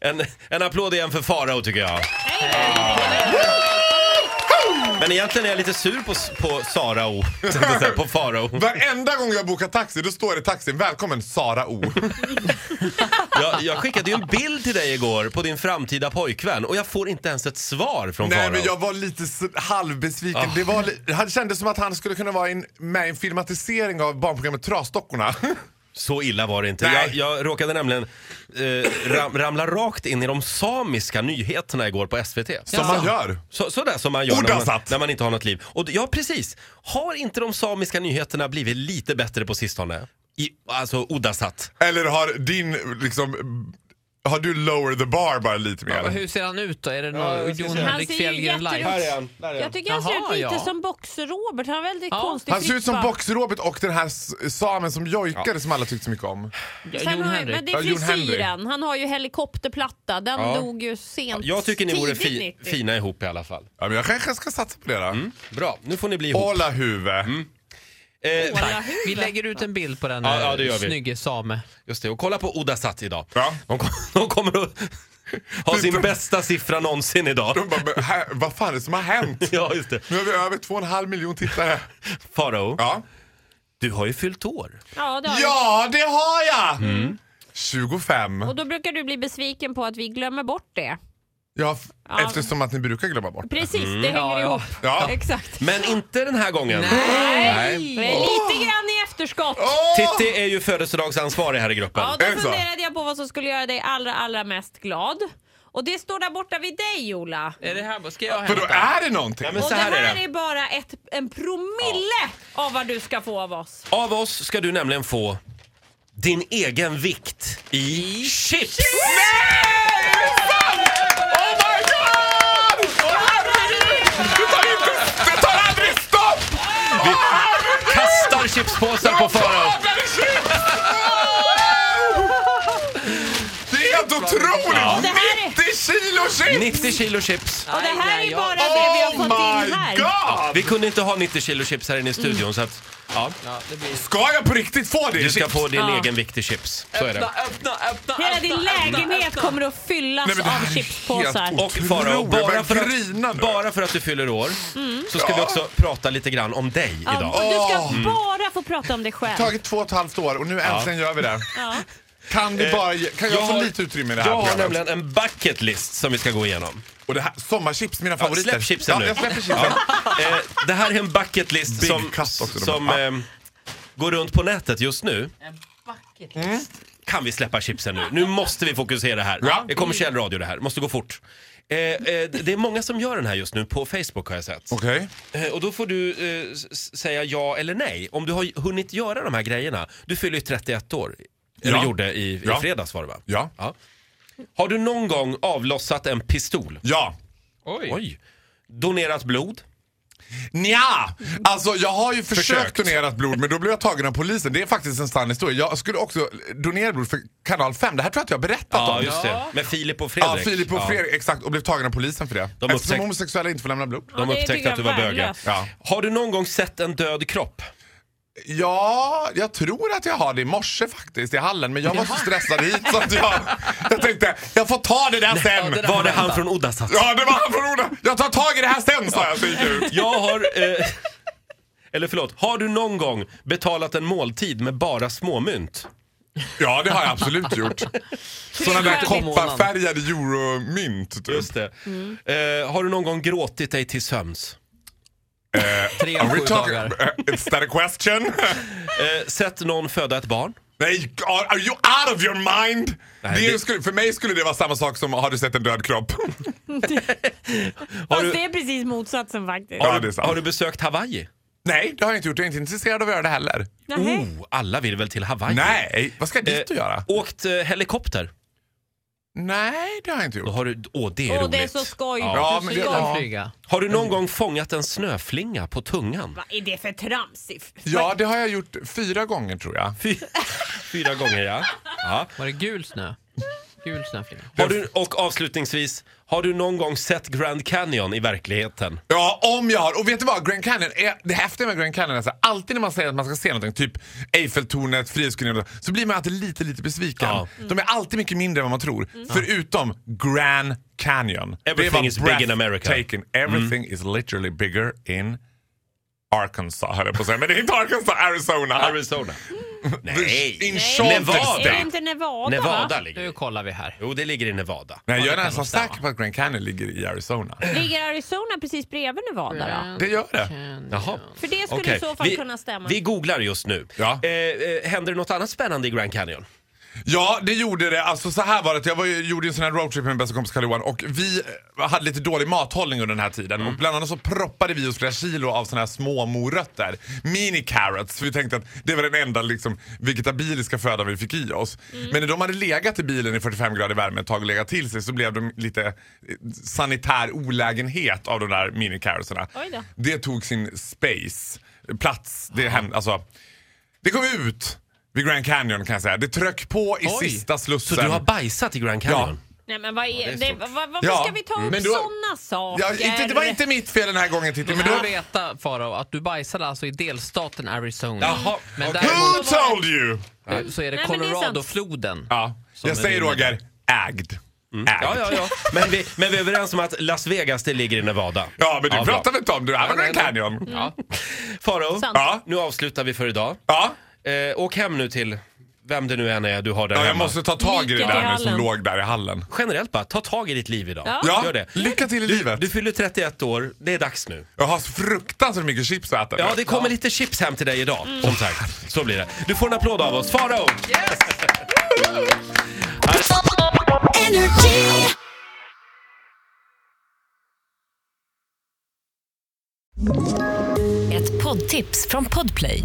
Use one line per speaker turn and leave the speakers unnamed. en, en applåd igen för Farao tycker jag. Men egentligen är jag lite sur på, på Sarao. tänkte jag säga, på Farao.
Varenda gång jag bokar taxi då står det i taxin “Välkommen Sara O”.
Jag, jag skickade ju en bild till dig igår på din framtida pojkvän och jag får inte ens ett svar från
Nej
Farao.
men jag var lite s- halvbesviken.
Ah.
Det, var, li- det kändes som att han skulle kunna vara i en- med i en filmatisering av barnprogrammet Trasdockorna.
Så illa var det inte.
Nej.
Jag, jag råkade nämligen eh, ram, ramla rakt in i de samiska nyheterna igår på SVT.
Som man gör.
Så, sådär som man gör när man,
Ordansat.
när man inte har något liv. Och, d- ja, precis. Har inte de samiska nyheterna blivit lite bättre på sistone? I, alltså oddasatt.
Eller har din liksom... Har du lower the bar bara lite mer?
Och hur ser han ut då? Är det
jag
någon
ska
Jon
se.
Henrik
Han ser ju
Fjällgren
jätterot-
live?
Här är
han.
Jag tycker han
Jaha,
ser ut lite
ja.
som Boxer-Robert. Han har väldigt
Ja.
konstig
Han ser ut som
frippa.
Box-Robert och den här s- samen som jojkade som alla tyckte så mycket om.
Ja,
Sen
Jon
har, ju-
Henrik.
men det
Ja,
är
Jon
frisyren. Han har ju helikopterplatta. Den
Ja.
dog ju sent.
Jag tycker ni vore
tidigt
fi,
90.
fina ihop i alla fall.
Ja, men jag kanske ska satsa på det då.
Bra, nu får ni bli ihop.
Åla huvud.
Eh,
Ålahuvud.
Vi lägger ut en bild på den
Ja,
eh,
ja, det gör vi.
snygge same.
Just det, och kolla på Odasat idag.
Ja.
De, kom, de kommer att ha sin bästa siffra någonsin idag.
De bara, "Men här, vad fan är det som har hänt?
Ja, just det.
Nu har vi över två och en halv miljon tittare.
Farao,
Ja,
du har ju fyllt år.
Ja, det har ja.
ja det har jag!
Mm.
25.
Och då brukar du bli besviken på att vi glömmer bort det.
Ja, f-
Ja.
Eftersom att ni brukar glömma bort.
Precis, det hänger
Ja, ja.
ihop.
Ja.
Exakt.
Men inte den här gången.
Men lite grann i efterskott.
Åh!
Titti är ju födelsedagsansvarig här i gruppen.
Ja, då
Är det så?
funderade jag på vad som skulle göra dig allra, allra mest glad. Och det står där borta vid dig, Ola.
Är det här? Ska jag
För då
hämta?
är det någonting.
Nej, men
Och
så
det
här är
här
det.
är bara ett, en promille av vad du ska få av oss.
Av oss ska du nämligen få din egen vikt i chips!
Oh my god! Åh, herregud! Det tar inte- Det tar aldrig stopp!
Kastar chipspåsar på Farao.
Det är helt otroligt!
Det här är,
90 kilo chips!
90 kilo chips.
och det här
Nej,
är
jag-
bara det vi har
Oh
fått in
my
här.
god!
Vi kunde inte ha 90 kilo chips här inne i studion så att Mm. ja,
Ja, det blir...
Ska jag på riktigt få det?
du Äh, ska
chips?
få din
Ja.
egen vikt i chips. Så är
Öppna,
det.
öppna, öppna,
Hela
öppna,
din
öppna,
lägenhet
öppna.
kommer att fyllas
Nej, men det här är
av chipspåsar.
helt
Och Farao,
Otroligt,
bara,
men
för
grina
att-
nu.
bara för att du fyller år så ska vi också prata lite grann om dig
Ja,
idag.
och du ska bara få prata om dig själv.
tagit två och ett halvt år och nu äntligen gör vi det.
Ja.
Kan, vi bara, ge- kan jag,
Eh, jag
få
har-
lite utrymme i det här
Jag har
programmet?
nämligen en bucket list som vi ska gå igenom.
Och det här, sommarchips, mina favoriter.
släpp chipsen
ja,
nu.
Jag släpper chipsen.
Eh, det här är en bucket list
Big
som,
cut också, de
som
här.
ehm, går runt på nätet just nu. Kan vi släppa chipsen nu? Nu måste vi fokusera här.
Ja.
Det är kommersiell radio det här, måste gå fort. Eh, eh, det är många som gör den här just nu på Facebook har jag sett.
Okej.
Eh, och då får du eh, s- s- säga ja eller nej. Om du har hunnit göra de här grejerna. Du fyller ju 31 år. Eller
Ja.
gjorde i, i
Ja.
fredags var det va?
Ja.
Har du någon gång avlossat en pistol?
Ja.
Oj.
Oj. Donerat blod?
Nja, alltså jag har ju försökt,
Försökt.
donerat blod men då blev jag tagen av polisen. Det är faktiskt en sann historia. Jag skulle också donera blod för kanal 5. Det här tror jag att jag har berättat
Ja,
om.
just det. Med Filip och
Ja,
Fredrik.
Filip och Fredrik, exakt. Och blev tagen av polisen för det.
De
Eftersom
upptäck-
homosexuella inte får lämna blod.
De
Ja, det tycker
upptäckte att du var
jag är
böge.
värdelöst.
Ja.
Har du någon gång sett en död kropp?
Ja, jag tror att jag har det i morse faktiskt i hallen. Men jag var så stressad hit så att jag, jag tänkte, jag får ta det där
ja,
sen.
det där-
Var det
vänta.
han från Oddasatt?
Ja, det var han från Ola. Jag tar tag i det här sen sa jag så gick jag ut.
Jag har... Eh, eller förlåt, har du någon gång betalat en måltid med bara småmynt?
Ja, det har jag absolut gjort. Sådana där kopparfärgade euromynt. Typ.
Just det. Eh, har du någon gång gråtit dig till sömns?
Tre
Are
av
we
sju
talking,
dagar.
uh, is that a question?
Eh, sett någon föda ett barn?
Nej, are, are you out of your mind?
Nej,
det
det-
Skulle, för mig skulle det vara samma sak som har du sett en död kropp?
Har
Fast
du,
det är precis motsatsen faktiskt.
Ja,
har
det är
du,
sant.
har du besökt Hawaii?
Nej, det har jag inte gjort. Jag är inte intresserad av att göra det heller.
Nähä.
Oh, alla vill väl till Hawaii?
Nej, vad ska jag dit och
Eh,
göra?
Åkt eh, helikopter?
Nej, det har jag inte
Då
gjort.
har du... Åh, det är
Åh,
roligt.
det är så skoj.
Ja.
Ja, men det,
Kan
ja.
flyga.
Har du någon gång fångat en snöflinga på tungan?
Vad är det för tramsigt?
ja, det har jag gjort fyra gånger tror jag.
Fy, fyra gånger, ja. ja.
Var det gul snö? Gul snöflinga.
Har du, och avslutningsvis, har du någon gång sett Grand Canyon i verkligheten?
Ja, om jag har. Och vet du vad? Grand Canyon, är, det häftiga med Grand Canyon är så här, alltid när man säger att man ska se någonting, typ Eiffeltornet, Frihetsgudinnan, så blir man alltid lite, lite besviken.
Ja. Mm.
De är alltid mycket mindre än vad man tror. Förutom Grand Canyon.
Everything
var
is big in America. Mm.
breathtaking. Everything is literally bigger in Arkansas, höll jag på att säga. Men det är inte Arkansas, Arizona.
Arizona.
In
Nej.
Salt
Nevada.
Lake
Är det
State.
inte Nevada?
Nevada
va?
ligger
Nu kollar vi här.
Jo, det ligger i Nevada.
Nej, jag är
kan
nästan
nog stämma.
säker på att Grand Canyon ligger i Arizona.
Ligger Arizona precis bredvid Nevada då?
Det gör det.
Jaha.
För det skulle
Okej.
i så fall kunna stämma.
Vi googlar just nu.
Ja.
Eh, eh, händer det något annat spännande i Grand Canyon?
Ja, det gjorde det. Alltså så här var det. Jag var, ju- gjorde ju en sån här roadtrip med min bästa kompis karl johan och vi eh, hade lite dålig mathållning under den här tiden.
Mm.
Och bland annat så proppade vi oss flera kilo av såna här små morötter. Mini carrots. För vi tänkte att det var den enda liksom, vegetabiliska födan vi fick i oss.
Mm.
Men när de hade legat i bilen i 45 grader värme ett tag och legat till sig så blev de lite eh, sanitär olägenhet av de där mini carrotsarna.
Oj då.
Det tog sin space, plats. Det hände, alltså... Det kom ut vid Grand Canyon kan jag säga. Det tröck på i
Oj.
sista
Så
slussen.
du har bajsat i Grand Canyon?
Nej men vad är,
det är
det,
stort.
vad, varför
Ja,
ska vi ta upp
men då-
sådana saker?
ja, inte, det var inte mitt fel den här gången Titti.
Du
Men du
ska
har...
veta Farao att du bajsade alltså i delstaten Arizona.
Jaha,
men
okej.
Who
däremot
told you?
så är det
Nej, men det är sant.
Coloradofloden.
Ja,
Som
jag
är
säger
din-
Roger, ägd. Ägd.
Mm. Ja, ja, ja. Men vi, men vi är överens om att Las Vegas, det ligger i Nevada.
Ja, men du
bra.
pratar väl inte om det? Det här var Grand Canyon.
Mm.
Ja.
Faro,
Sant.
Ja.
nu avslutar vi för idag.
Ja.
Eh, åk hem nu till vem det nu än är du har där
ja, jag
hemma.
måste ta tag i det
Mikael i
där nu
hallen.
som låg där i hallen.
Generellt bara, ta tag i ditt liv idag.
Ja.
Ja,
Gör det.
lycka till i livet.
Du fyller 31 år, det är dags nu.
Jag har så fruktansvärt mycket chips att äta nu.
Ja, det kommer lite chips hem till dig idag.
Mm.
Som sagt, så blir det. Du får en applåd av oss. Farao!
Energy.
Ett poddtips från Podplay.